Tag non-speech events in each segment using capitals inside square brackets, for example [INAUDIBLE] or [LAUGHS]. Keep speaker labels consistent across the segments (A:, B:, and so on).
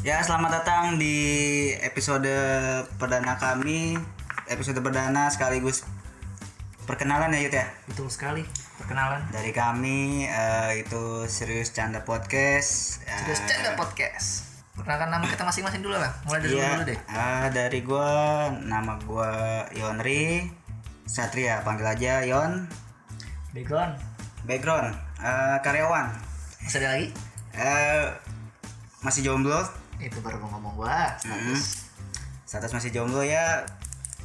A: Ya, selamat datang di episode perdana kami. Episode perdana sekaligus perkenalan ya Yud ya.
B: Betul sekali, perkenalan.
A: Dari kami eh, itu Serius Canda Podcast. Eh,
B: Serius Canda Podcast. Perkenalkan nama kita masing-masing dulu lah. Mulai dari lu
A: Iya,
B: dulu deh.
A: eh, dari gua nama gua Yonri Satria, panggil aja Yon.
B: Begon.
A: Background eh, karyawan.
B: Masih ada lagi?
A: Eh, masih jomblo?
B: Itu baru mau ngomong gua.
A: Mm-mm. Status masih jomblo ya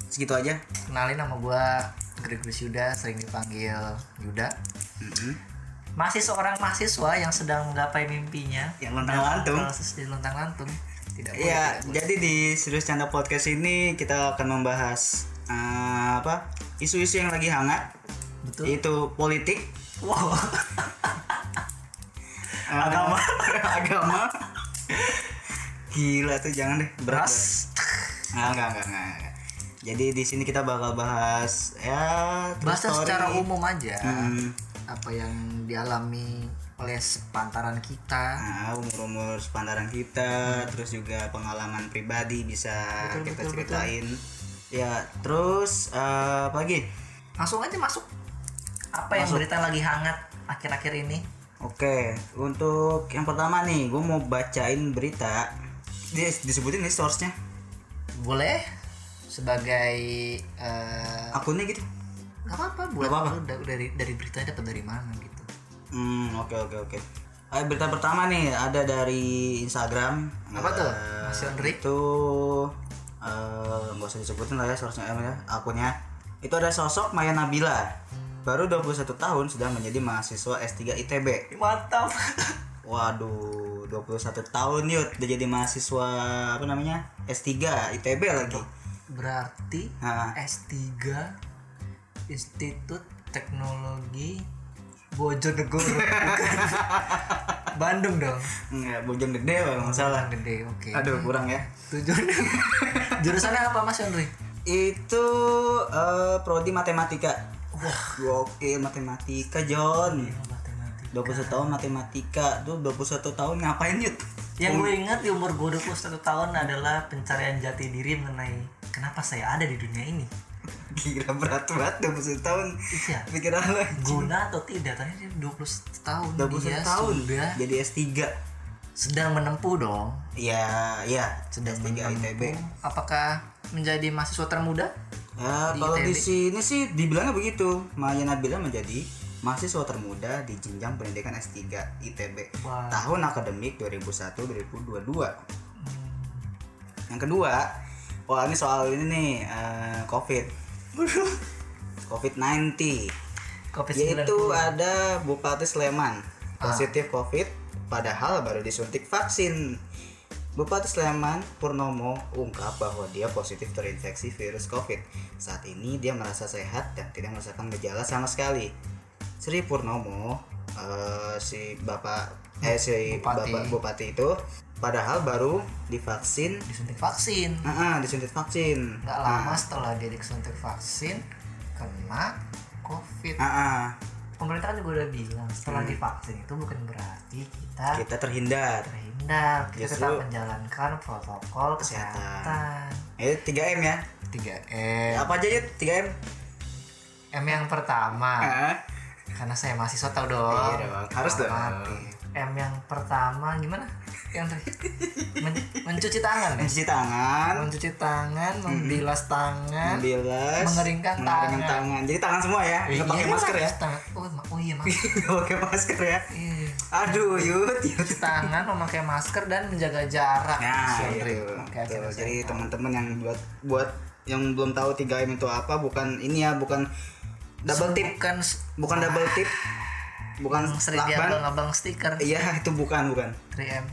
A: segitu aja.
B: Kenalin nama gua Gregoris Yuda, sering dipanggil Yuda.
A: Mm-mm.
B: Masih seorang mahasiswa yang sedang menggapai mimpinya.
A: Yang lontang-lantung.
B: Proses di lontang lantung. Tidak boleh.
A: Iya,
B: tidak boleh.
A: jadi di Serius Canda Podcast ini kita akan membahas eh, apa isu-isu yang lagi hangat,
B: Betul.
A: yaitu politik,
B: Wow.
A: eh, agama, [LAUGHS] agama. Gila tuh jangan deh, berat.
B: Beras.
A: Nah, enggak, enggak, enggak, enggak. Jadi di sini kita bakal bahas ya true
B: Bahasa
A: story.
B: secara umum aja.
A: Hmm,
B: Apa yang dialami oleh sepantaran kita.
A: nah, umur-umur sepantaran kita, terus juga pengalaman pribadi bisa
B: Betul,
A: kita
B: betul,
A: ceritain. Ya, terus eh, apa lagi?
B: Langsung aja masuk. Apa yang berita lagi hangat akhir-akhir ini?
A: Oke, untuk yang pertama nih, gue mau bacain berita. Dia disebutin nih source-nya.
B: boleh sebagai eh,
A: Akunnya gitu.
B: nggak apa-apa
A: Nggak
B: buat
A: apa-apa.
B: lu da- dari dari beritanya dapat dari mana gitu
A: Hmm, oke oke oke. Eh, berita pertama nih ada dari Instagram.
B: Apa tuh?
A: Eh,
B: Mas Yondri?
A: Itu eh, nggak usah disebutin lah ya source-nya em, ya, akunnya. Itu ada sosok Maya Nabila. Baru 21 tahun sudah menjadi mahasiswa S3 ITB.
B: mantap
A: Waduh, 21 tahun yuk udah jadi mahasiswa apa namanya? S3 ITB lagi.
B: berarti
A: Nah,
B: S3 Institut Teknologi [LAUGHS] Bojonegoro Bandung dong
A: Enggak, bojong gede kalau nggak salah.
B: Bandung gede oke
A: Aduh, kurang ya.
B: tujuan jurusannya apa Mas Yondri
A: Itu eh, prodi matematika. Wah, gokil matematika, John. 21 tahun matematika. Tuh 21 tahun ngapain, Yud? [LAUGHS]
B: yang gue ingat di umur gue 21 tahun adalah pencarian jati diri mengenai kenapa saya ada di dunia ini
A: Gila berat banget 21 tahun.
B: iya
A: Pikiran lo.
B: guna atau tidak tadi dia 20 tahun
A: 21
B: dia
A: tahun
B: Iya sudah
A: jadi S3.
B: sedang menempuh dong
A: Ya, ya,
B: sedang
A: S3 ITB.
B: apakah menjadi mahasiswa termuda
A: Ya,
B: Di
A: kalau di
B: ITB.
A: sini sih dibilangnya begitu. Maya Nabila menjadi mahasiswa termuda di jenjang pendidikan S3 ITB
B: Wah.
A: tahun akademik 2001-2022.
B: Hmm,
A: Yang kedua, wah ini soal ini nih eh, COVID. COVID-19.
B: covid
A: Yaitu ada Bupati Sleman positif COVID padahal baru disuntik vaksin. Bupati Sleman Purnomo ungkap bahwa dia positif terinfeksi virus COVID. Saat ini dia merasa sehat dan tidak merasakan gejala sama sekali. Sri Purnomo eh, si bapak eh si
B: Bupati.
A: bapak bupati itu padahal baru divaksin
B: disuntik vaksin
A: Heeh, disuntik vaksin.
B: nggak lama setelah dia disuntik vaksin kena covid
A: Heeh,
B: pemerintah kan juga udah bilang setelah
A: Hmm.
B: divaksin itu bukan berarti kita
A: ah, kita terhindar.
B: terhindar kita
A: Justru-
B: tetap menjalankan protokol
A: Kesehatan.
B: kesehatan
A: Eh 3M ya.
B: 3 M
A: Apa aja ya 3M?
B: M yang pertama
A: Heeh.
B: Karena saya mahasiswa tau dong.
A: Eh. Iya dong, harus dong.
B: Hormati. M yang pertama gimana? Yang tadi Men- mencuci tangan ya.
A: Mencuci tangan,
B: Mencuci tangan, membilas tangan.
A: membilas,
B: Mengeringkan
A: mengeringkan
B: tangan.
A: tangan. Jadi tangan semua ya. Enggak pakai
B: Iya,
A: masker ya.
B: harus tangan. Oh, ma- oh iya masker.
A: Enggak pakai masker [LAUGHS] ya.
B: Iya.
A: Aduh, yut, yut.
B: Mencuci tangan, memakai masker dan menjaga jarak.
A: Nah,
B: Sentri.
A: itu.
B: Oke,
A: Tuh,
B: akhirnya saya
A: Jadi
B: tahu.
A: teman-teman yang buat buat yang belum tahu 3M itu apa bukan ini ya, bukan double tip,
B: bukan
A: bukan double tip. Bukan
B: sedia
A: lakban.
B: abang-abang stiker
A: Iya, itu bukan, bukan.
B: 3M.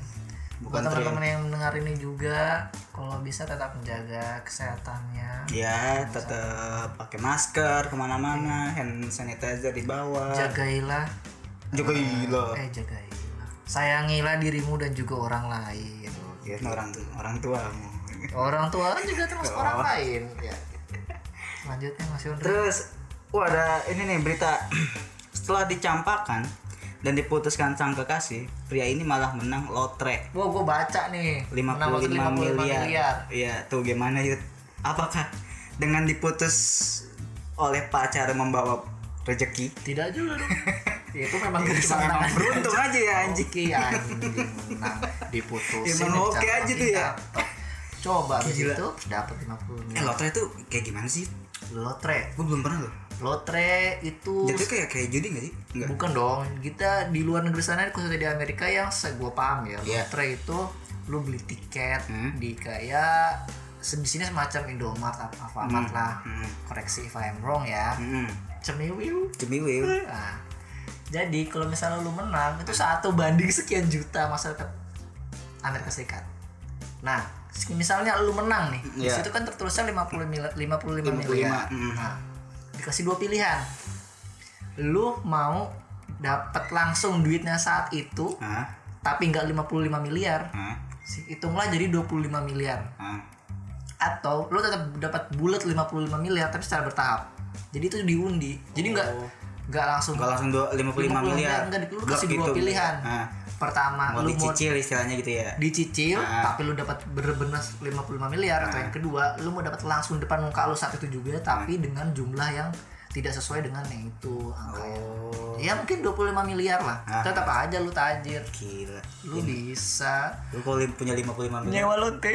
A: Bukan
B: Buat teman-teman yang mendengar ini juga, kalau bisa tetap menjaga kesehatannya.
A: Ya, tetap pakai masker kemana-mana, hand sanitizer dibawa.
B: jagailah
A: Juga gila.
B: eh jagailah sayangilah dirimu dan juga orang lain
A: Ya, orang orang tua.
B: orang tua kan juga termasuk orang
A: Oh.
B: lain ya lanjutnya Mas Yondri
A: [CLEARS THROAT] Terus, wah ada ini nih berita. Setelah dicampakkan, dan diputuskan sang kekasih, pria ini malah menang lotre
B: Wah, gue baca nih.
A: 55, miliar. Iya, tuh gimana Yud? Apakah dengan diputus oleh pacar membawa rezeki?
B: [LAUGHS] Tidak juga
A: [LAUGHS]
B: dong. Ya, itu memang
A: Bisa emang
B: tangan-
A: beruntung aja ya anjing.
B: Oke Iya, anjing menang diputusin.
A: Emang oke
B: dicakar,
A: aja tuh ya.
B: didapet. Coba abis
A: Gila.
B: itu dapat 50
A: Eh,
B: miliar.
A: lotre tuh kayak gimana sih?
B: Lotre.
A: Gue belum pernah loh.
B: Lotre itu
A: Jadi kayak kayak judi gak sih? Enggak.
B: Bukan dong, kita di luar negeri sana khususnya di Amerika yang gue paham ya,
A: Iya.
B: lotre itu lu beli tiket
A: Hmm.
B: di kayak se- di sini semacam Indomart apa
A: Hmm.
B: Alfamart lah.
A: Hmm.
B: Koreksi if I'm wrong ya.
A: Hmm.
B: Cemiwiu.
A: Cemiwiw.
B: Nah, jadi kalau misalnya lu menang itu satu banding sekian juta masyarakat Amerika Serikat. Nah, se- misalnya lu menang nih, di
A: Iya.
B: situ kan tertulisnya 50 mili- 55,
A: 55,
B: miliar.
A: mm.
B: Nah, dikasih dua pilihan. Lu mau dapat langsung duitnya saat itu,
A: Hah?
B: tapi nggak 55 miliar.
A: Hah?
B: Si- Hitunglah jadi 25 miliar.
A: Hah?
B: Atau lu tetap dapat bulat 55 miliar tapi secara bertahap. Jadi itu diundi. Jadi nggak nggak langsung
A: Enggak langsung dua- 55
B: 55
A: miliar.
B: enggak, enggak, lu
A: Blok gitu.
B: kasih dua pilihan.
A: Hah.
B: pertama
A: Mau
B: lu mau
A: dicicil istilahnya gitu ya.
B: dicicil
A: Ah.
B: tapi lu dapat bener-bener 55 miliar
A: Ah.
B: atau
A: Hmm.
B: yang kedua lu mau dapat langsung depan muka lu saat itu juga tapi dengan jumlah yang tidak sesuai dengan yang itu angkanya.
A: Oh.
B: Ya mungkin 25 miliar lah.
A: Ah.
B: Tetap aja lu tajir.
A: Gila.
B: Lu bisa
A: Lu kalau li- punya 55 miliar.
C: nyewa
B: [LAUGHS]
C: lote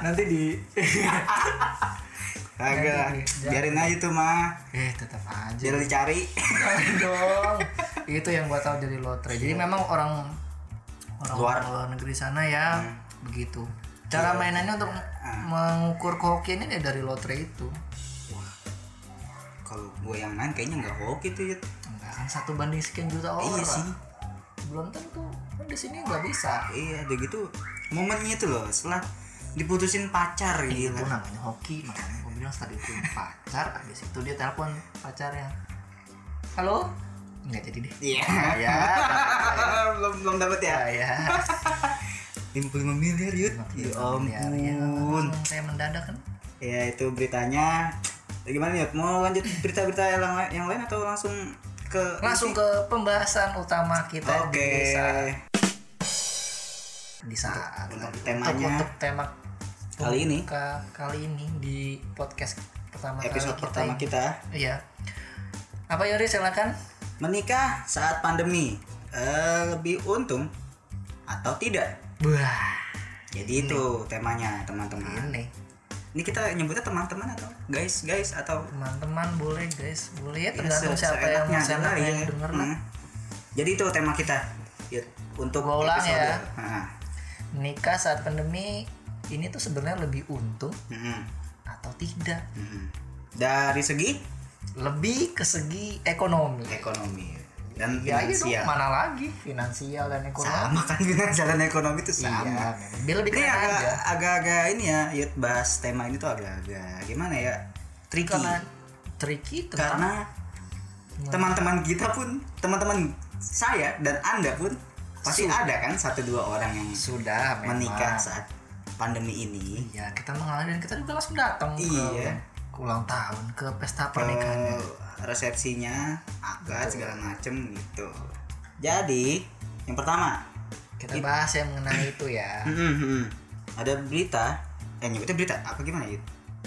C: nanti di
A: Agak. Biarin aja tuh mah.
B: [LAUGHS] eh tetap aja.
A: Biar dicari. [LAUGHS]
B: Jangan dong. itu yang gua tahu dari lotre. Jadi memang orang orang
A: Luar. Hmm.
B: orang luar negeri sana ya begitu. Cara mainannya untuk
A: Ah.
B: mengukur kehokiannya ya dari lotre itu.
A: Kalau gue yang main kayaknya nggak hoki tuh ya.
B: Enggak kan satu banding sekian juta orang.
A: Iya
B: Pak.
A: sih.
B: Belum tentu. Kan di sini nggak bisa.
A: Iya, udah gitu momennya tuh loh setelah diputusin pacar
B: Itu
A: gila.
B: namanya hoki, makanya gue bilang setelah itu pacar, habis itu dia telepon pacarnya. Halo? Nggak jadi deh.
A: Iya.
B: Ya,
A: [LAUGHS]
B: [LAUGHS]
A: belum belum dapat ya.
B: ya,
A: [LAUGHS]
B: ya.
A: 55 miliar yud. Ya
B: Miliar, ya.
A: ampun.
B: Langsung Kayak mendadak kan.
A: Ya itu beritanya. Ya, gimana nih? Mau lanjut berita-berita yang, la- yang lain atau langsung ke
B: Langsung ke pembahasan utama kita
A: Oke.
B: di saat di saat
A: Untuk
B: untuk-
A: temanya.
B: untuk tema
A: Kali ini.
B: pembuka kali ini di podcast pertama
A: episode
B: kali
A: pertama kita
B: kita. ini. Iya. Apa Yori silakan?
A: menikah saat pandemi eh, lebih untung atau tidak?
B: Wah, Hmm.
A: Jadi itu temanya teman-teman.
B: ini
A: Ini kita nyebutnya teman-teman atau guys guys atau
B: teman-teman boleh guys, boleh
A: Ya,
B: ya tergantung
A: se-
B: siapa yang
A: seenaknya aja
B: siapa
A: lah,
B: yang
A: iya.
B: denger lah.
A: Hmm. Jadi itu tema kita. Yud, untuk
B: Gua ulang
A: episode.
B: ya.
A: Nah,
B: Nikah saat pandemi ini tuh sebenarnya lebih untung
A: mm-mm,
B: atau tidak?
A: mm-mm. hmm. Dari segi
B: Lebih ke segi ekonomi.
A: ekonomi dan
B: Ya iya dong,
A: Eh, finansial.
B: mana lagi finansial dan ekonomi.
A: sama kan [LAUGHS] finansial dan ekonomi itu
B: Iya,
A: sama.
B: memang. Dia lebih
A: Ini
B: keren
A: agak-
B: aja.
A: agak-agak ini ya, Yud bahas tema ini tuh agak-agak gimana ya? Tricky.
B: Karena tricky tentang
A: karena teman-teman kita pun teman-teman saya dan anda pun pasti ada kan satu dua orang yang
B: sudah memang.
A: menikah saat pandemi ini
B: Ya kita mengalir dan kita juga langsung datang
A: Iya.
B: ke, ke ulang tahun ke pesta pernikahan.
A: Eh, resepsinya akad segala macem gitu jadi yang pertama
B: Kita bahas yang mengenai itu ya.
A: mhm, ada berita eh nyebutnya berita apa gimana gitu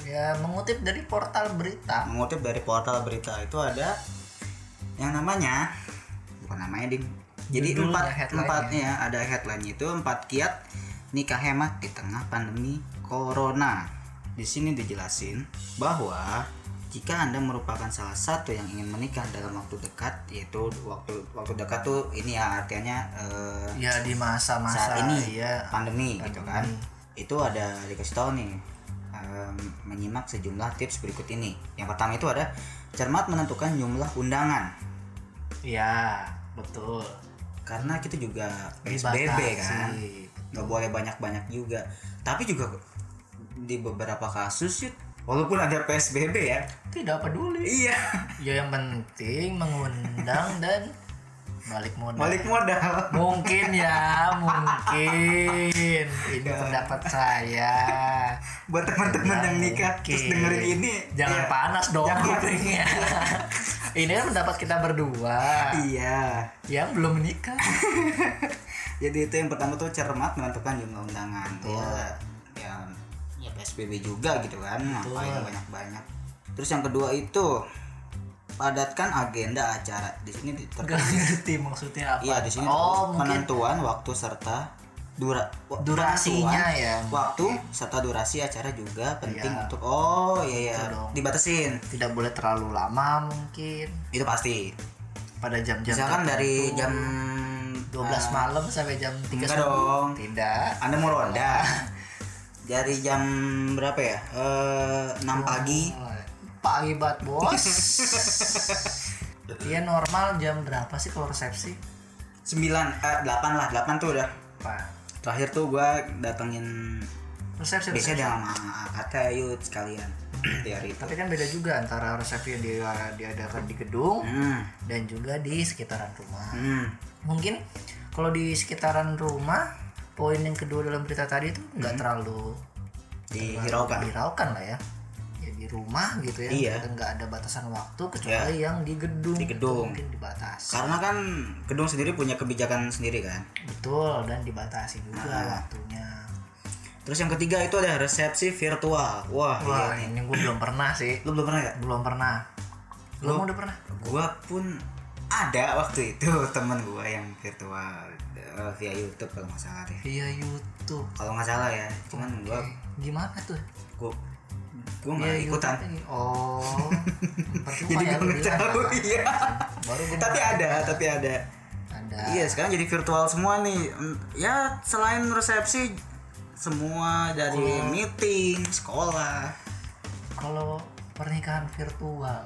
B: Ya mengutip dari portal berita.
A: mengutip dari portal berita itu ada yang namanya bukan namanya ding jadi
B: Judulnya,
A: empat
B: headline-nya.
A: empatnya ada headline itu empat kiat nikah hemat di tengah pandemi corona di sini dijelasin bahwa jika anda merupakan salah satu yang ingin menikah dalam waktu dekat yaitu waktu waktu dekat tuh ini ya artinya eh,
B: Ya di masa-masa
A: saat ini
B: ya
A: pandemi, gitu kan
B: Hmm.
A: itu ada dikasih tahu nih em, menyimak sejumlah tips berikut ini yang pertama itu ada cermat menentukan jumlah undangan
B: Ya betul.
A: karena kita juga PSBB kan
B: Dibatasi.
A: nggak boleh banyak-banyak juga tapi juga di beberapa kasus Yud, walaupun ada PSBB ya
B: Tidak peduli. [LAUGHS]
A: iya
B: Ya yang penting mengundang
A: [LAUGHS]
B: dan balik modal.
A: balik modal
B: Mungkin ya, mungkin. Ini
A: Iya.
B: pendapat saya.
A: buat teman-teman yang nikah terus
B: Mungkin.
A: dengerin ini
B: Iya, Jangan [LAUGHS]
A: ya,
B: panas dong kupingnya. Ini kan pendapat kita berdua
A: Iya.
B: yang belum menikah.
A: Jadi Ya, itu yang pertama tuh cermat menentukan jumlah undangan. Ya, ya, ya PSBB juga gitu kan. Ngapain banyak-banyak. Terus yang kedua itu padatkan agenda acara. Di sini
B: Gak
A: diterapkan.
B: ngerti maksudnya apa.
A: Iya, di sini
B: Oh,
A: tertulis
B: mungkin
A: penentuan waktu serta dura wa-
B: durasinya
A: penentuan
B: ya.
A: Waktu serta durasi acara juga penting
B: Iya.
A: untuk oh iya ya
B: Itu dong.
A: dibatasin.
B: Tidak boleh terlalu lama mungkin
A: Itu pasti.
B: pada jam-jam
A: Misalkan dari
B: tertentu.
A: jam
B: 12 malam sampai jam 3
A: Enggak
B: subuh.
A: dong.
B: Tidak.
A: Anda mau ronda dari jam berapa ya? Eh, 6 pagi.
B: Pagi banget, Bos. Iya normal jam berapa sih kalau resepsi?
A: 9 eh 8 lah, 8 tuh udah.
B: Pak.
A: Terakhir tuh gua datengin
B: Resepsi, resepsi.
A: biasanya sama kakak yuk [CLEARS THROAT] sekalian di hari itu.
B: Tapi kan beda juga antara resepsi yang dia- diadakan di gedung
A: Hmm.
B: dan juga di sekitaran rumah.
A: Hmm.
B: Mungkin kalau di sekitaran rumah, poin yang kedua dalam berita tadi itu
A: Hmm.
B: nggak terlalu
A: Dihiraukan.
B: dihiraukan lah ya. Ya di rumah gitu ya,
A: Iya.
B: kita nggak ada batasan waktu kecuali yang di gedung.
A: Di
B: itu
A: gedung.
B: mungkin dibatasi.
A: Karena kan gedung sendiri punya kebijakan sendiri kan.
B: Betul dan dibatasi juga
A: Ah.
B: waktunya.
A: Terus yang ketiga itu ada resepsi virtual. Wah, iya
B: Wah,
A: nih.
B: ini gue belum pernah sih.
A: Lu belum pernah ya?
B: Belum pernah. Belum udah pernah.
A: Gua pun ada waktu itu [LAUGHS] temen gua yang virtual eh, via YouTube kalau nggak salah deh.
B: Via YouTube.
A: Kalau nggak salah ya, cuman gua
B: Gimana tuh?
A: gua gua nggak
B: Iya,
A: ikutan.
B: YouTube ini.
A: [LAUGHS]
B: Oh. percuma
A: Jadi
B: ya
A: gua
B: lu
A: nggak
B: bilang.
A: tahu iya.
B: Baru gua
A: tapi ada, tapi ada.
B: ada.
A: Iya, sekarang jadi virtual semua nih. Mm, Ya selain resepsi semua dari meeting, sekolah.
B: Kalau pernikahan virtual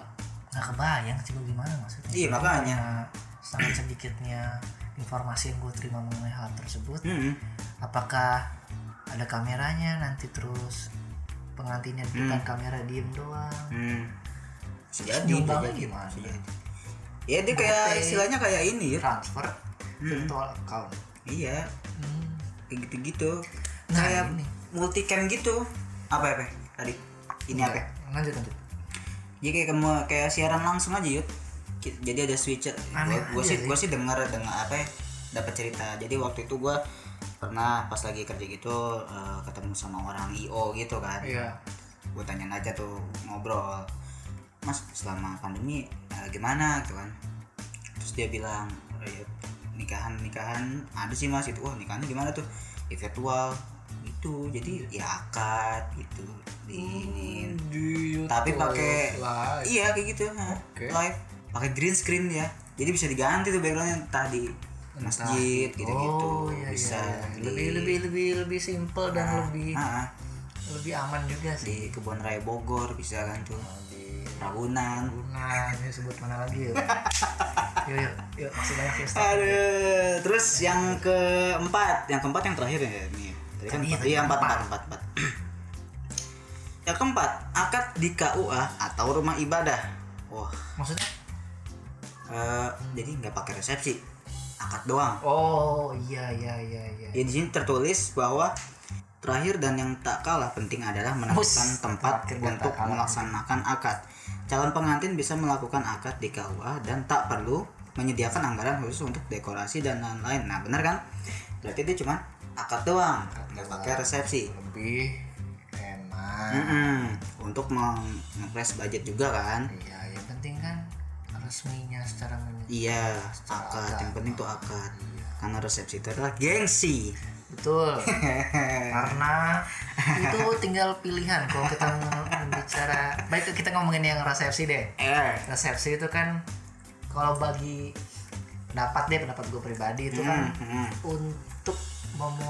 B: nggak kebayang sih gua gimana maksudnya.
A: Iya, makanya.
B: Karena sangat sedikitnya informasi yang gue terima mengenai hal tersebut.
A: Mm-mm.
B: apakah ada kameranya nanti terus pengantinnya di depan kamera diem doang
A: Hmm. Bisa Jadi gitu.
B: nyumbangnya gimana
A: Iya, Ya dia kayak istilahnya kayak ini. ya.
B: transfer virtual account
A: Iya,
B: hmm.
A: kayak gitu-gitu.
B: Nah,
A: kayak
B: ini.
A: multicam gitu. Apa apa? Tadi ini apa? ya?
B: lanjut lanjut
A: Jadi kayak kamu- kayak siaran langsung aja yuk. Ki- Jadi ada switcher.
B: Aneh
A: Gue
B: aja
A: sih
B: sih.
A: gue sih dengar dengar apa? ya, Dapat cerita. Jadi waktu itu gue pernah pas lagi kerja gitu eh, ketemu sama orang IO gitu kan.
B: iya
A: gue tanyain aja tuh ngobrol mas selama pandemi eh, gimana gitu kan terus dia bilang "Eh, nikahan nikahan ada sih mas itu wah nikahannya gimana tuh ya virtual gitu jadi ya akad gitu diinin
B: di
A: Tapi pakai-
B: live.
A: iya kayak gitu ha.
B: Oke.
A: live pakai green screen ya jadi bisa diganti tuh backgroundnya entah di masjid gitu gitu
B: oh iya,
A: bisa
B: iya.
A: di-
B: lebih lebih lebih lebih simple dan lebih
A: Ah, ah.
B: lebih aman juga sih
A: di kebun raya Bogor bisa kan tuh
B: di
A: Ragunan
B: nah ini sebut mana [LAUGHS] lagi yuk yuk yuk, yuk masih banyak ya Ustaz.
A: Aduh, terus yang keempat, yang keempat yang terakhir ya ini. Tadi kan empat,
B: Tadi yang
A: iya empat, empat,
B: keempat.
A: empat, empat. yang keempat, akad di KUA atau rumah ibadah. Wah,
B: maksudnya
A: eh, jadi nggak pakai resepsi, akad doang.
B: Oh iya iya iya iya.
A: Ya di sini tertulis bahwa terakhir dan yang tak kalah penting adalah menentukan
B: Bus,
A: tempat
B: terakhir dan
A: untuk
B: tak kalah.
A: melaksanakan akad. Calon pengantin bisa melakukan akad di KUA dan tak perlu menyediakan anggaran khusus untuk dekorasi dan lain-lain. Nah, benar kan? Berarti dia cuma akad doang, nggak pakai resepsi.
B: Lebih enak.
A: Mm-mm. Untuk meng- ngepres budget juga kan?
B: Iya yang penting kan resminya secara menikah.
A: Iya, akad. Yang penting tuh akad.
B: Iya.
A: Karena resepsi itu adalah
B: [LAUGHS]
A: gengsi.
B: Betul. Karena itu tinggal pilihan kalau kita bicara baik kita ngomongin yang resepsi deh.
A: Eh,
B: Resepsi itu kan kalau bagi pendapat deh pendapat gue pribadi itu kan
A: mm-mm.
B: untuk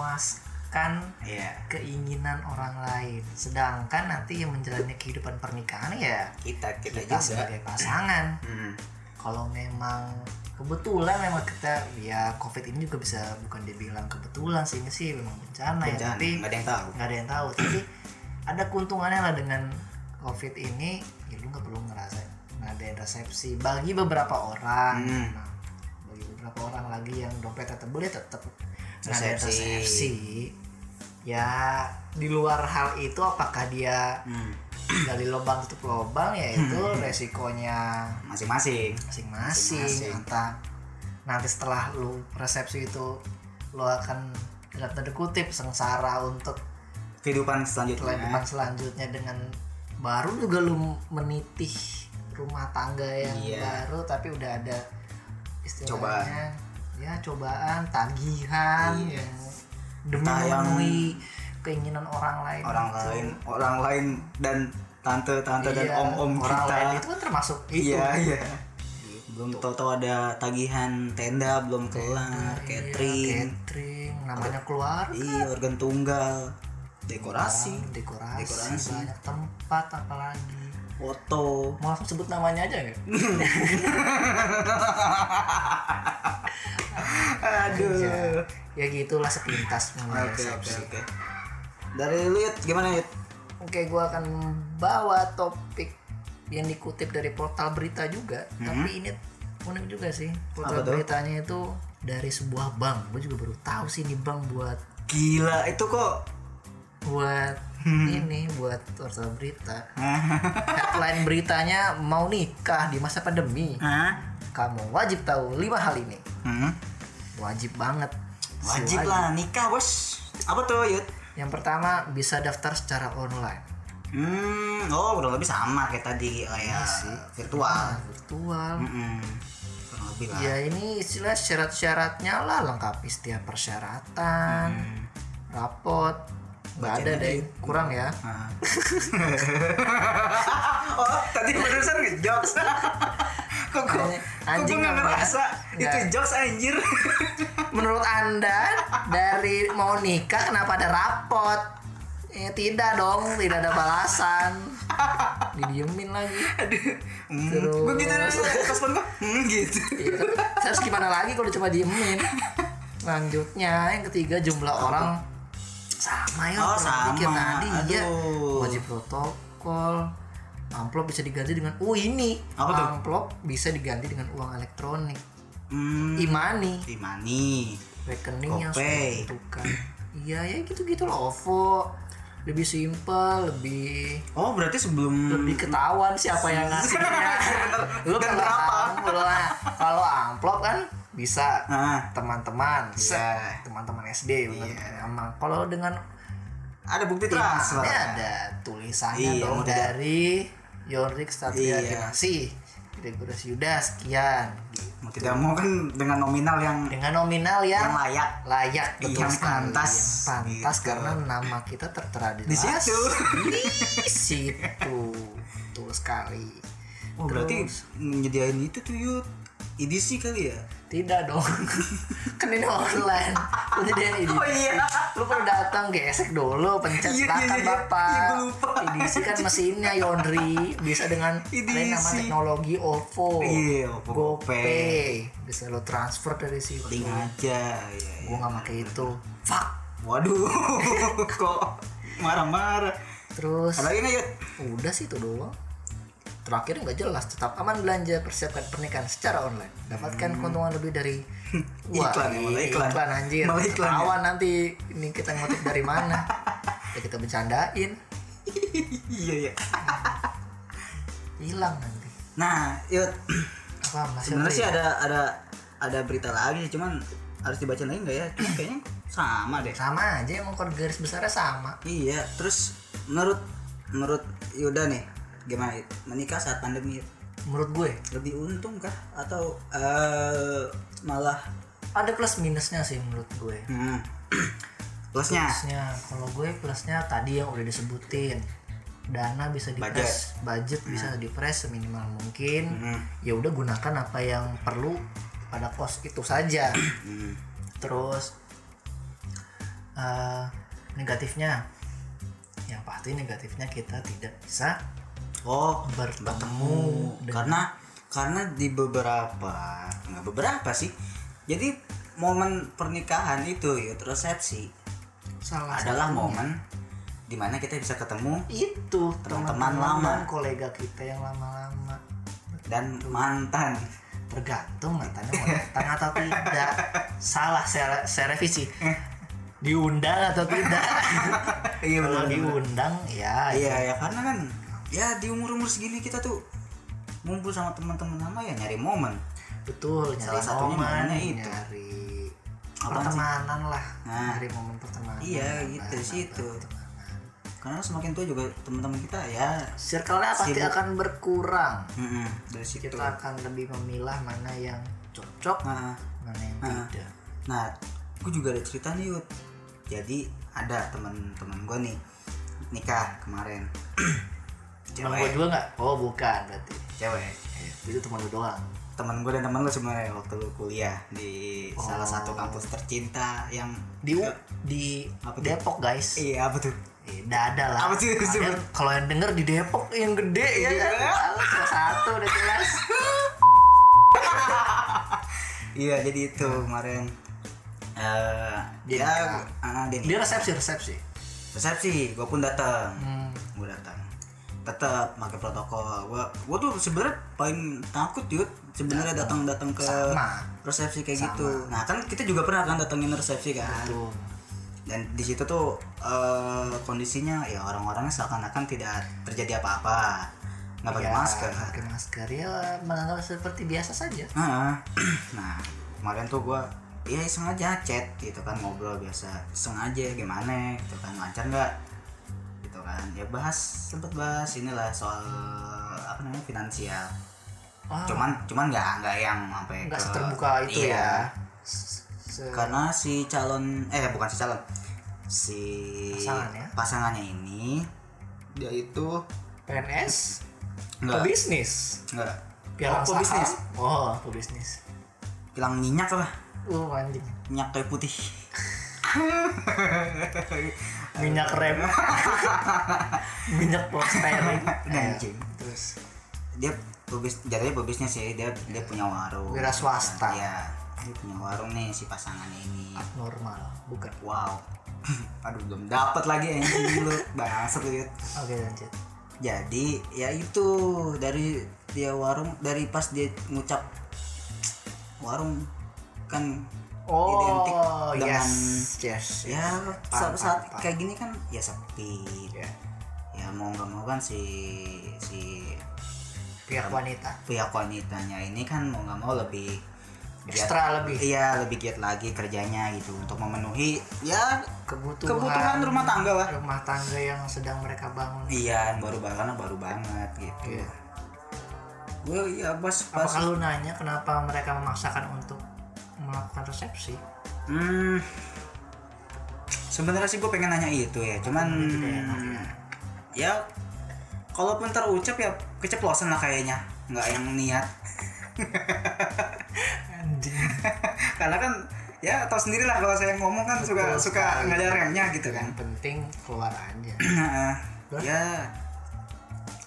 B: memuaskan
A: Iya.
B: keinginan orang lain. Sedangkan nanti yang menjalani kehidupan pernikahan ya
A: Kita kita juga.
B: kita sebagai pasangan.
A: Mm.
B: Kalau memang kebetulan memang kita ya covid ini juga bisa bukan dibilang kebetulan sih ini sih memang bencana, ya
A: Jangan,
B: tapi
A: nggak ada yang tahu.
B: nggak ada yang tahu tapi ada keuntungannya lah dengan covid ini ya lu nggak perlu ngerasa ngadain resepsi bagi beberapa orang
A: Hmm.
B: Nah, bagi beberapa orang lagi yang dompetnya tebel ya tetap ngadain
A: Resepsi.
B: resepsi ya di luar hal itu apakah dia
A: Hmm.
B: gali lubang tutup lubang ya itu resikonya
A: masing-masing Masing-masing.
B: masing-masing entah nanti setelah lu resepsi itu lu akan dalam tanda kutip sengsara untuk
A: kehidupan selanjutnya
B: kehidupan selanjutnya dengan baru juga lu menitih rumah tangga yang
A: Iya.
B: baru tapi udah ada istilahnya ya cobaan tagihan
A: Iya.
B: yang demi
A: Entah yang-
B: memenuhi keinginan orang lain Iya,
A: orang
B: itu.
A: lain orang lain dan tante-tante dan
B: Iya,
A: om-om
B: orang
A: kita
B: lain itu kan termasuk itu
A: iya iya belum tahu-tahu ada tagihan tenda belum kelar
B: Iya,
A: catering
B: catering namanya keluar
A: iya organ tunggal dekorasi
B: dekorasi,
A: Dekorasi.
B: banyak tempat apalagi
A: foto
B: mau langsung sebut namanya aja nggak
A: aduh
B: ya gitulah sepintas ya, mengenai
A: Iya. oke oke
B: resepsi.
A: oke dari lu Yud, gimana Yud?
B: Oke, gua akan membawa topik yang dikutip dari portal berita juga, tapi ini unik juga sih. Portal
A: Mm-hmm. Apa tuh?
B: beritanya itu dari sebuah bank. Gue juga baru tahu sih ini bank buat
A: gila itu kok
B: buat
A: Hmm.
B: ini buat portal
A: [LAUGHS]
B: berita. Headline beritanya mau nikah di masa pandemi.
A: Hah?
B: Kamu wajib tahu lima hal ini.
A: Hmm?
B: Wajib banget.
A: wajib lah nikah bos apa tuh Yud?
B: Yang pertama bisa daftar secara online,
A: Hmm, oh kurang lebih sama kayak tadi oh, ya, virtual.
B: Iya. virtual.
A: Mm-mm. Kurang lebih lah.
B: Ya ini istilah syarat-syaratnya lah lengkapi setiap persyaratan,
A: Hmm.
B: rapot, nggak ada
A: Bacanya
B: deh kurang ya.
A: Ah. [LAUGHS] oh tadi barusan nge jokes. kok gua, kok
B: Anjing-
A: gua
B: anjing
A: nggak
B: apa?
A: ngerasa itu
B: Nggak.
A: jokes anjir. [LAUGHS]
B: Menurut anda dari mau nikah kenapa ada rapot? Ya, tidak dong, tidak ada balasan. Didiemin lagi.
A: Aduh. Hmm.
B: Terus.
A: Gua gitu dulu respon gua. Hmm gitu.
B: Ya, terus gimana lagi kalau cuma diemin? Lanjutnya yang ketiga jumlah orang sama ya
A: Oh,
B: kurang
A: sama.
B: dikit tadi ya
A: Aduh.
B: wajib protokol amplop bisa diganti dengan oh ini
A: Apa tuh?
B: amplop bisa diganti dengan uang elektronik
A: Hmm.
B: e-money
A: Imani.
B: rekening yang
A: GoPay.
B: sudah ditentukan iya ya gitu gitu loh OVO lebih simple lebih
A: Oh berarti sebelum
B: lebih ketahuan siapa
A: [LAUGHS]
B: yang ngasihnya lu
A: Hmm. Dan
B: kalau
A: berapa?
B: amplop lah. kalau amplop kan bisa
A: Ah,
B: teman-teman set,
A: Iya.
B: teman-teman SD bener
A: Iya.
B: emang kalau dengan
A: ada bukti
B: Iya.
A: teras.
B: ini
A: Pak.
B: ada tulisannya
A: Iya,
B: dong
A: udah.
B: dari Yorik
A: Iya.
B: Satria Kinasi Gregorius Yuda sekian
A: Mau tidak mau kan dengan nominal yang
B: dengan nominal
A: yang
B: yang
A: layak Iya,
B: layak betul
A: Yang
B: sekali.
A: pantas.
B: yang pantas
A: Gitu.
B: karena nama kita tertera di
A: di situ.
B: di situ betul sekali
A: Oh berarti
B: Terus-
A: menyediain itu tuh yud EDC kali ya?
B: Tidak dong. [LAUGHS] kan ini online. Udah deh ini.
A: Oh iya.
B: Lu perlu datang gesek dulu,
A: Iya,
B: pencet
A: iya,
B: belakang
A: iya, iya.
B: Bapak.
A: Iya, gua lupa.
B: Edisi kan mesinnya Yondri bisa dengan
A: Edisi.
B: ada yang nama teknologi OVO.
A: Iya, OVO,
B: GoPay. Bisa lo transfer dari situ.
A: Link aja ya,
B: Gua
A: ya.
B: nggak pakai itu. Fuck.
A: Waduh [LAUGHS] kok marah-marah
B: Terus
A: Ada lagi nggak Yud? [LAUGHS]
B: udah sih itu doang. Terakhir nggak jelas, tetap aman belanja, persiapkan pernikahan secara online. Dapatkan keuntungan lebih
A: [LAUGHS]
B: dari Wah,
A: Hmm. Iklan
B: iya,
A: ya, malah iklan.
B: iklan anjir.
A: Malah iklan ya.
B: Ketahuan nanti ini kita ngutip dari mana. [LAUGHS] ya kita bercandain,
A: Iya iya
B: hilang nanti.
A: Nah Yud [CLEARS THROAT]
B: Apa masih
A: sebenarnya sih
B: ada
A: ada ada ada berita lagi sih, cuman harus dibaca lagi nggak ya? Cuman kayaknya sama deh
B: ya? sama aja emang kalau garis besarnya sama.
A: Iya terus menurut menurut Yuda nih gimana Yud? Menikah saat pandemi Yud?
B: Menurut gue
A: lebih untung kah? Atau eh, malah
B: ada plus minusnya sih menurut gue.
A: hmm, [CLEARS THROAT] plusnya?
B: Plusnya kalau gue plusnya tadi yang udah disebutin dana bisa di
A: Budget.
B: budget, bisa di press seminimal mungkin.
A: Hmm.
B: Ya udah gunakan apa yang perlu pada kos itu saja.
A: Hmm.
B: terus eh, negatifnya yang pasti negatifnya kita tidak bisa
A: Oh,
B: bertemu dengan
A: karena karena di beberapa nggak beberapa sih. Jadi momen pernikahan itu ya resepsi
B: salah
A: adalah
B: satunya.
A: momen dimana kita bisa ketemu
B: itu
A: Teman-teman lama.
B: dan kolega kita yang lama-lama
A: dan mantan. [LAUGHS]
B: tergantung mantannya mau datang atau tidak salah saya, saya revisi diundang atau tidak
A: Iya [LAUGHS]
B: kalau
A: benar.
B: diundang ya
A: Iya ya karena kan ya di umur umur segini kita tuh ngumpul sama teman-teman lama ya nyari momen
B: betul
A: Salah
B: nyari
A: satunya
B: momen
A: momennya itu.
B: nyari
A: Apaan sih?
B: pertemanan lah
A: Nah.
B: nyari momen pertemanan
A: Iya, gitu sih itu. karena semakin tua juga teman-teman kita ya
B: circle-nya pasti
A: Sibuk.
B: akan berkurang
A: mm-mm, dari situ
B: kita akan lebih memilah mana yang cocok
A: nah,
B: mana yang
A: Ah.
B: tidak
A: nah gue juga ada cerita nih Yud jadi ada teman-teman gue nih nikah kemarin [CLEARS THROAT]
B: teman gue
A: cewek
B: dua nggak oh bukan berarti
A: cewek
B: Eh, itu teman lu doang
A: teman gue dan teman lu sebenarnya waktu lu kuliah di
B: Oh.
A: salah satu kampus tercinta yang
B: di di
A: Iya. Apa tuh?
B: Depok guys
A: iya apa tuh
B: Eh, nggak ada lah
A: Apa sih itu
B: Ada-
A: sebut?
B: kalau yang denger di Depok yang gede ya
A: Iya.
B: kan Tahu, salah satu udah jelas
A: iya jadi itu kemarin eh
B: Dia
A: dia
B: nikah.
A: ah, dia
B: dia
A: nikah.
B: resepsi resepsi
A: resepsi gue pun datang
B: hmm.
A: gue datang tetap pakai protokol gue gue tuh sebenarnya paling takut yud sebenarnya datang datang ke
B: sama
A: resepsi kayak
B: Sama.
A: gitu nah kan kita juga pernah kan datengin resepsi kan
B: tuh
A: dan di situ tuh eh, kondisinya ya orang-orangnya seakan-akan tidak terjadi apa-apa nggak pakai
B: Ya,
A: masker
B: pakai masker ya menganggap seperti biasa saja
A: Heeh. [CLEARS THROAT] nah kemarin tuh gue ya sengaja chat gitu kan ngobrol biasa sengaja gimana gitu kan lancar nggak gitu kan ya bahas sempet bahas inilah soal apa namanya finansial
B: Wah,
A: cuman cuman nggak nggak yang sampai
B: nggak
A: ke-
B: seterbuka itu
A: eh, iya.
B: ya Se- se-
A: karena si calon eh bukan si calon si
B: Pasangannya.
A: pasangannya ini dia itu
B: PNS
A: nggak
B: pebisnis
A: nggak Oh,
B: pialang
A: pebisnis.
B: saham oh pebisnis
A: hilang minyak lah
B: uh anjing
A: minyak kayu putih
B: minyak
A: [LAUGHS]
B: rem minyak polystyrene
A: Dan anjing.
B: terus
A: dia pebis jadinya pebisnya sih dia dia punya warung
B: Wira swasta.
A: iya dia punya warung nih si pasangannya ini
B: normal bukan
A: wow [LAUGHS] aduh belum dapat lagi anjing lu [LAUGHS] bangsat lu Yud.
B: oke lanjut
A: jadi ya itu dari dia warung dari pas dia ngucap warung kan
B: oh
A: Identik dengan-
B: yes yes
A: ya
B: Paham,
A: saat, saat
B: paham,
A: kayak gini kan ya sepi
B: Ya.
A: ya mau nggak mau kan si si Iya.
B: pihak wanita
A: pihak wanitanya ini kan mau nggak mau lebih giat-
B: ekstra lebih
A: iya lebih giat lagi kerjanya gitu untuk memenuhi ya
B: kebutuhan
A: kebutuhan rumah tangga lah
B: rumah tangga yang sedang mereka bangun
A: iya baru banget baru banget gitu
B: Iya.
A: gue ya pas pas
B: apakah lu nanya kenapa mereka memaksakan untuk melakukan resepsi
A: hmm, sebenarnya sih gue pengen nanya itu ya cuman
B: Gitu ya, enak ya.
A: ya kalaupun terucap ya keceplosan lah kayaknya nggak yang niat
B: anjing
A: [LAUGHS] karena kan ya tau sendiri lah kalau saya ngomong kan suka suka
B: Betul sekali. Iya.
A: nggak ada remnya gitu kan
B: yang penting keluar aja [CLEARS THROAT]
A: Nah,
B: Terus?
A: ya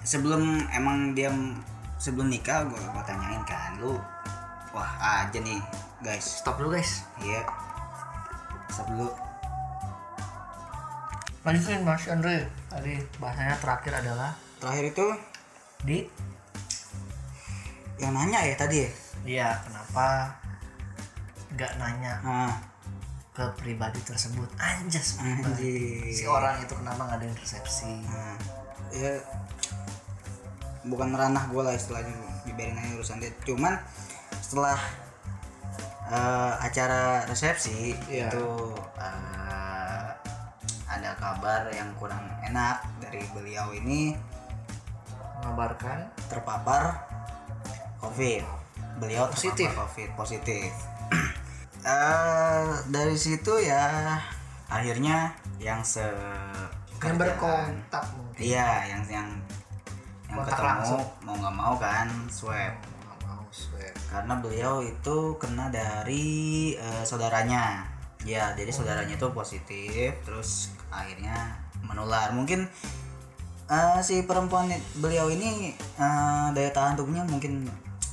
A: sebelum emang dia sebelum nikah gue gua tanyain kan lu wah aja nih guys
B: stop dulu guys
A: iya stop dulu
B: lanjutin Mas Andre tadi bahasanya terakhir adalah
A: terakhir itu
B: di
A: yang nanya ya tadi ya
B: iya kenapa nggak nanya
A: nah,
B: ke pribadi tersebut anjas pribadi.
A: anjir.
B: si orang itu kenapa nggak ada yang resepsi
A: Nah, ya bukan ranah gue lah istilahnya dibiarin aja urusan dia cuman setelah eh, acara resepsi
B: Iya.
A: itu eh, ada kabar yang kurang enak dari beliau ini
B: mengabarkan
A: terpapar covid beliau
B: Positif.
A: terpapar covid positif [CLEARS THROAT] Eh, dari situ ya akhirnya yang se
B: yang berkontak mungkin
A: Iya, yang yang yang
B: Kontak
A: ketemu
B: langsung.
A: mau nggak mau kan swab
B: Nggak mau swab
A: karena beliau itu kena dari eh, saudaranya. Ya,
B: Oh.
A: jadi saudaranya itu positif, terus akhirnya menular. Mungkin eh, si perempuan i- beliau ini eh, daya tahan tubuhnya mungkin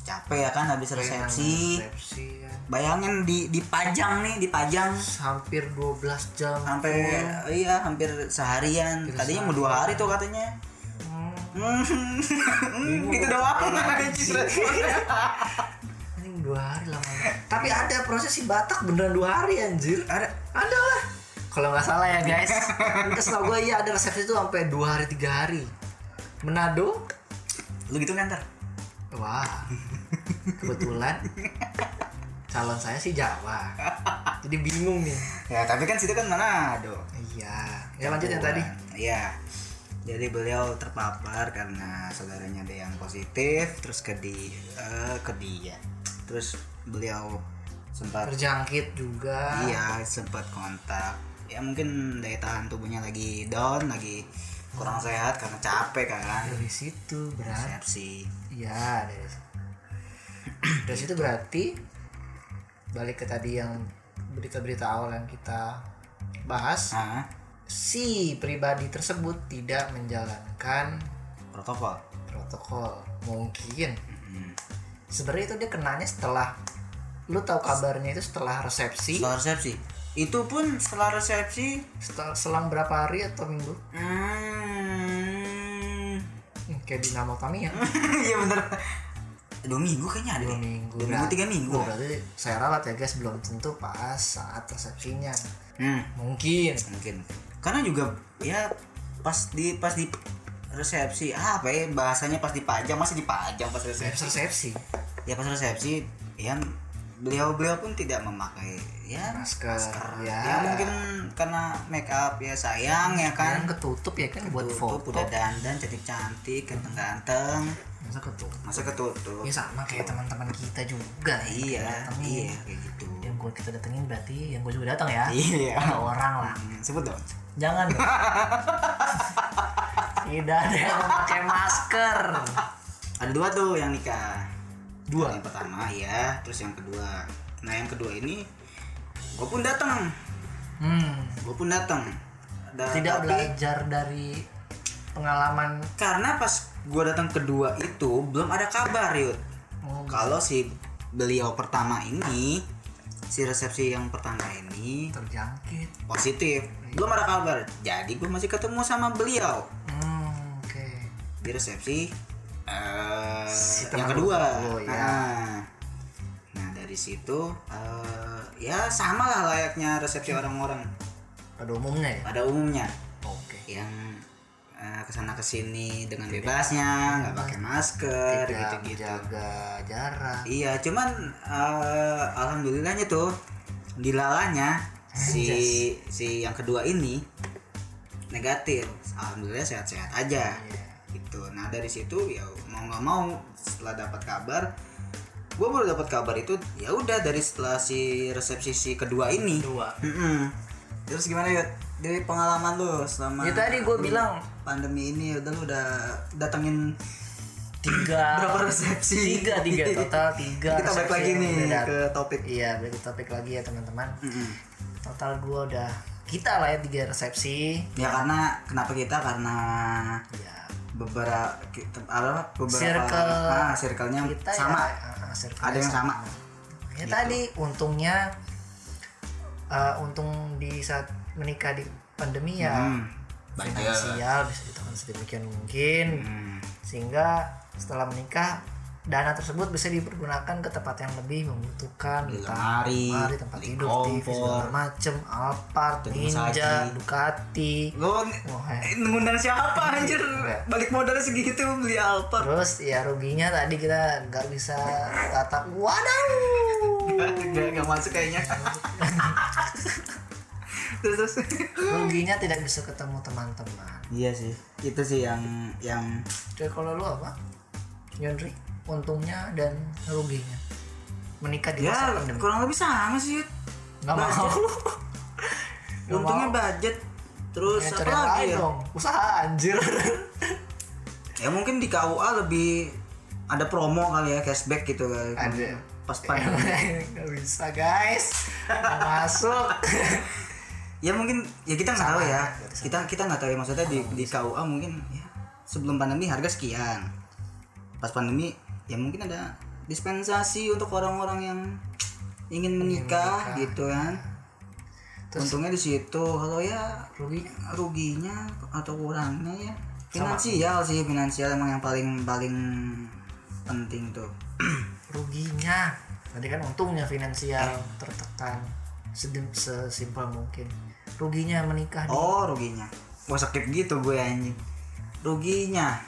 A: capek ya kan habis resepsi.
B: resepsi ya.
A: Bayangin di dipajang nih, dipajang
B: hampir 12 jam
A: sampai iya hampir seharian.
B: Hampir
A: Tadinya mau dua hari tuh katanya.
B: Hmm,
A: Hmm, [LAUGHS] gitu doang anjing.
B: anjing dua hari lama tapi ada proses si Batak beneran dua hari anjir
A: Ada
B: ada lah [LAUGHS] kalau nggak salah ya guys itu setahu gue iya ada resepsi itu sampai dua hari tiga hari Manado.
A: [LAUGHS] Lu gitu kan ntar?
B: Wah, kebetulan calon saya sih Jawa. Jadi bingung nih.
A: Ya tapi kan situ kan Manado.
B: Iya. Ya lanjut yang tadi.
A: Iya. Jadi beliau terpapar karena saudaranya ada yang positif, terus ke di eh, ke dia. Terus beliau sempat
B: Terjangkit juga.
A: iya sempat kontak. Ya mungkin daya tahan tubuhnya lagi down, lagi kurang sehat karena capek kan.
B: Dari situ berarti.
A: Persepsi.
B: Iya dari situ. dari situ berarti balik ke tadi yang berita-berita awal yang kita bahas
A: Ah,
B: si pribadi tersebut tidak menjalankan
A: protokol.
B: protokol mungkin
A: Mm.
B: sebenarnya itu dia kenanya setelah lu tahu kabarnya itu setelah resepsi
A: Setelah resepsi. Itu pun setelah resepsi
B: setel- selang berapa hari atau minggu
A: Hmm. [LAUGHS]
B: Hmm, kayak di Nama Tamiya
A: Iya bener. Dua minggu kayaknya ada.
B: dua
A: deh.
B: minggu
A: Dua minggu
B: Berarti-
A: tiga minggu.
B: oh, berarti saya ralat ya guys belum tentu pas saat resepsinya
A: Hmm.
B: mungkin
A: Mungkin. Karena juga ya pas di pas di resepsi ah, apa ya bahasanya pas dipajang masih dipajang pas
B: Habis
A: resepsi
B: resepsi
A: ya pas resepsi ya beliau beliau pun tidak memakai ya
B: Masker,
A: ya.
B: ya.
A: mungkin karena make up ya sayang ya
B: kan
A: kan
B: ketutup ya kan buat
A: Ketutup,
B: foto
A: udah dandan cantik cantik ganteng ganteng
B: masa ketutup
A: masa ketutup
B: ya sama kayak teman-teman kita juga ya,
A: iya
B: kita datengin.
A: iya kayak gitu
B: yang gue kita datengin berarti yang gue juga datang ya
A: iya
B: ada orang lah
A: Hmm, sebut dong
B: jangan
A: [LAUGHS]
B: dong. tidak ada yang memakai masker
A: ada dua tuh yang nikah
B: Dua?
A: yang pertama ya terus yang kedua nah yang kedua ini gue pun datang
B: hmm,
A: gue pun datang Da-
B: tidak
A: tapi
B: belajar dari pengalaman
A: karena pas gue datang kedua itu belum ada kabar yud
B: Oh,
A: kalau si beliau pertama ini si resepsi yang pertama ini
B: terjangkit
A: positif belum ada kabar jadi gue masih ketemu sama beliau
B: hmm, oke
A: di resepsi eh
B: Si
A: yang
B: teman
A: kedua
B: lu, ya.
A: nah, nah dari situ eh, ya sama lah layaknya resepsi orang-orang
B: pada umumnya ya
A: pada umumnya
B: oke
A: yang eh, kesana kesini dengan bebasnya nggak pakai masker
B: tidak
A: gitu-gitu
B: menjaga jarak
A: iya cuman eh, alhamdulillahnya tuh dilalanya si si yang kedua ini negatif alhamdulillah sehat-sehat aja
B: Iya.
A: gitu nah dari situ ya mau nggak mau setelah dapat kabar gue baru dapat kabar itu ya udah dari setelah si resepsi si kedua ini
B: dua
A: Mm-mm. terus gimana ya dari pengalaman lu selama
B: ya tadi gue bilang
A: pandemi ini udah lu udah datengin
B: tiga
A: [LAUGHS] Berapa resepsi?
B: tiga tiga total tiga
A: kita balik
B: resepsi
A: lagi
B: yang
A: nih
B: udah dat-
A: ke topik
B: iya balik ke topik lagi ya teman-teman
A: Mm-mm.
B: total gua udah kita lah ya tiga resepsi
A: ya karena kenapa kita karena
B: ya
A: beberapa kita apa beberapa
B: Circle
A: ah, circle-nya
B: kita
A: sama
B: ya, ah, ah, circle-nya
A: ada yang sama Gitu.
B: ya tadi untungnya eh, untung di saat menikah di pandemi ya
A: Hmm. Baik, ya.
B: finansial bisa ditekan sedemikian mungkin
A: Hmm.
B: sehingga setelah menikah dana tersebut bisa dipergunakan ke tempat yang lebih membutuhkan
A: Beli
B: entah
A: lemari,
B: lemari, tempat
A: beli
B: tidur, TV,
A: kompor,
B: segala macem Alphard,
A: gedung
B: Ninja,
A: saji.
B: Ducati
A: lo
B: Wah, eh.
A: ngundang siapa anjir balik modalnya segitu beli Alphard
B: terus ya ruginya tadi kita nggak bisa tatap waduh
A: gak, gak masuk [LAUGHS] kayaknya terus terus
B: ruginya tidak bisa ketemu teman-teman
A: iya sih itu sih yang yang
B: jadi kalau lu apa Yondri untungnya dan ruginya menikah di
A: ya
B: masa
A: nah.
B: pandemi
A: kurang lebih sama sih Yud. [LAUGHS]
B: nggak mau Nggak
A: untungnya budget terus
B: ya,
A: apa
B: cari yang
A: lagi
B: lain
A: ya?
B: dong usaha anjir [LAUGHS]
A: ya mungkin di KUA lebih ada promo kali ya cashback gitu kan
B: Ada.
A: pas pandemi
B: nggak bisa guys Nggak masuk [LAUGHS]
A: ya mungkin ya kita nggak tahu ya
B: gitu.
A: kita kita nggak tahu ya maksudnya di di KUA mungkin ya sebelum pandemi harga sekian pas pandemi ya mungkin ada dispensasi untuk orang-orang yang ingin menikah, gitu kan untungnya di situ kalau ya
B: ruginya
A: ruginya atau kurangnya ya finansial sih finansial emang yang paling paling penting tuh [CLEARS THROAT]
B: ruginya tadi kan untungnya finansial tertekan sedem sesimpel mungkin ruginya menikah di-
A: oh ruginya gua sakit gitu gue anjing ruginya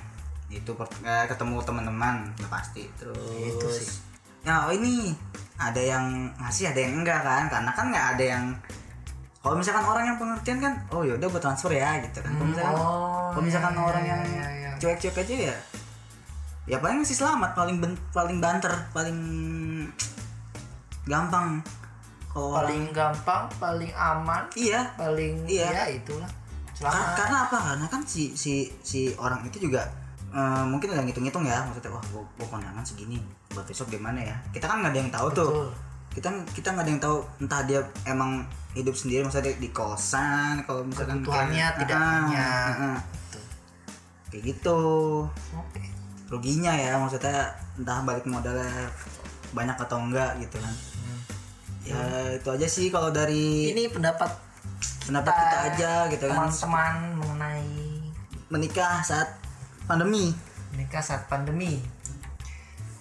A: itu per- eh, ketemu teman-teman udah pasti terus
B: Itu sih.
A: nah oh ini ada yang ngasih ada yang enggak kan karena kan nggak ada yang kalau misalkan orang yang pengertian kan oh yaudah gue transfer ya gitu kan kalau misalkan,
B: oh,
A: kalau misalkan
B: iya,
A: orang
B: iya,
A: yang
B: iya, iya.
A: cuek-cuek aja ya ya paling ngasih selamat paling ben- paling banter paling gampang kalau orang-
B: paling gampang paling aman
A: iya
B: paling
A: Iya.
B: ya itulah
A: Kar-
B: selamat
A: karena apa karena kan si si si orang itu juga eh, mungkin udah ngitung-ngitung ya maksudnya wah gua, gua kondangan segini buat besok gimana ya kita kan nggak ada yang tahu tuh
B: Betul.
A: kita kita nggak ada yang tahu entah dia emang hidup sendiri maksudnya di, di kosan kalau misalkan
B: Kebutuhannya
A: kayak-
B: tidak
A: Ah,
B: punya.
A: ah, ah.
B: Betul.
A: kayak gitu
B: Oke.
A: ruginya ya maksudnya entah balik modalnya banyak atau enggak gitu kan
B: Hmm.
A: ya itu aja sih kalau dari
B: ini pendapat
A: pendapat kita aja gitu kan
B: teman-teman mengenai
A: menikah saat pandemi
B: nikah saat pandemi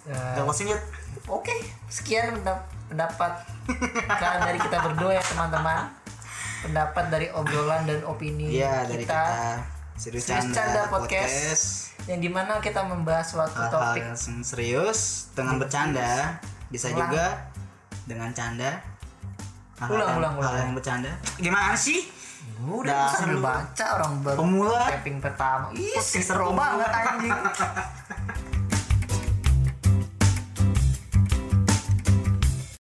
B: Eh,
A: Udah closing yet?
B: Oke, sekian pendap- pendapat kalian dari kita berdua ya teman-teman. Pendapat dari obrolan dan opini
A: Iya dari kita, Serius
B: Serius
A: Canda,
B: Canda
A: Podcast,
B: Podcast. yang dimana kita membahas suatu
A: Hal-hal
B: topik
A: yang serius dengan bercanda Bisa
B: Ulang.
A: juga dengan canda Hal-hal
B: Ulang,
A: yang-
B: ulang, ulang.
A: Hal yang bercanda Gimana sih?
B: udah
A: Dah,
B: sambil
A: lu.
B: baca orang baru
A: Pemula
B: tapping pertama. Ih,
A: Podcast
B: seru
A: pemula.
B: banget anjing.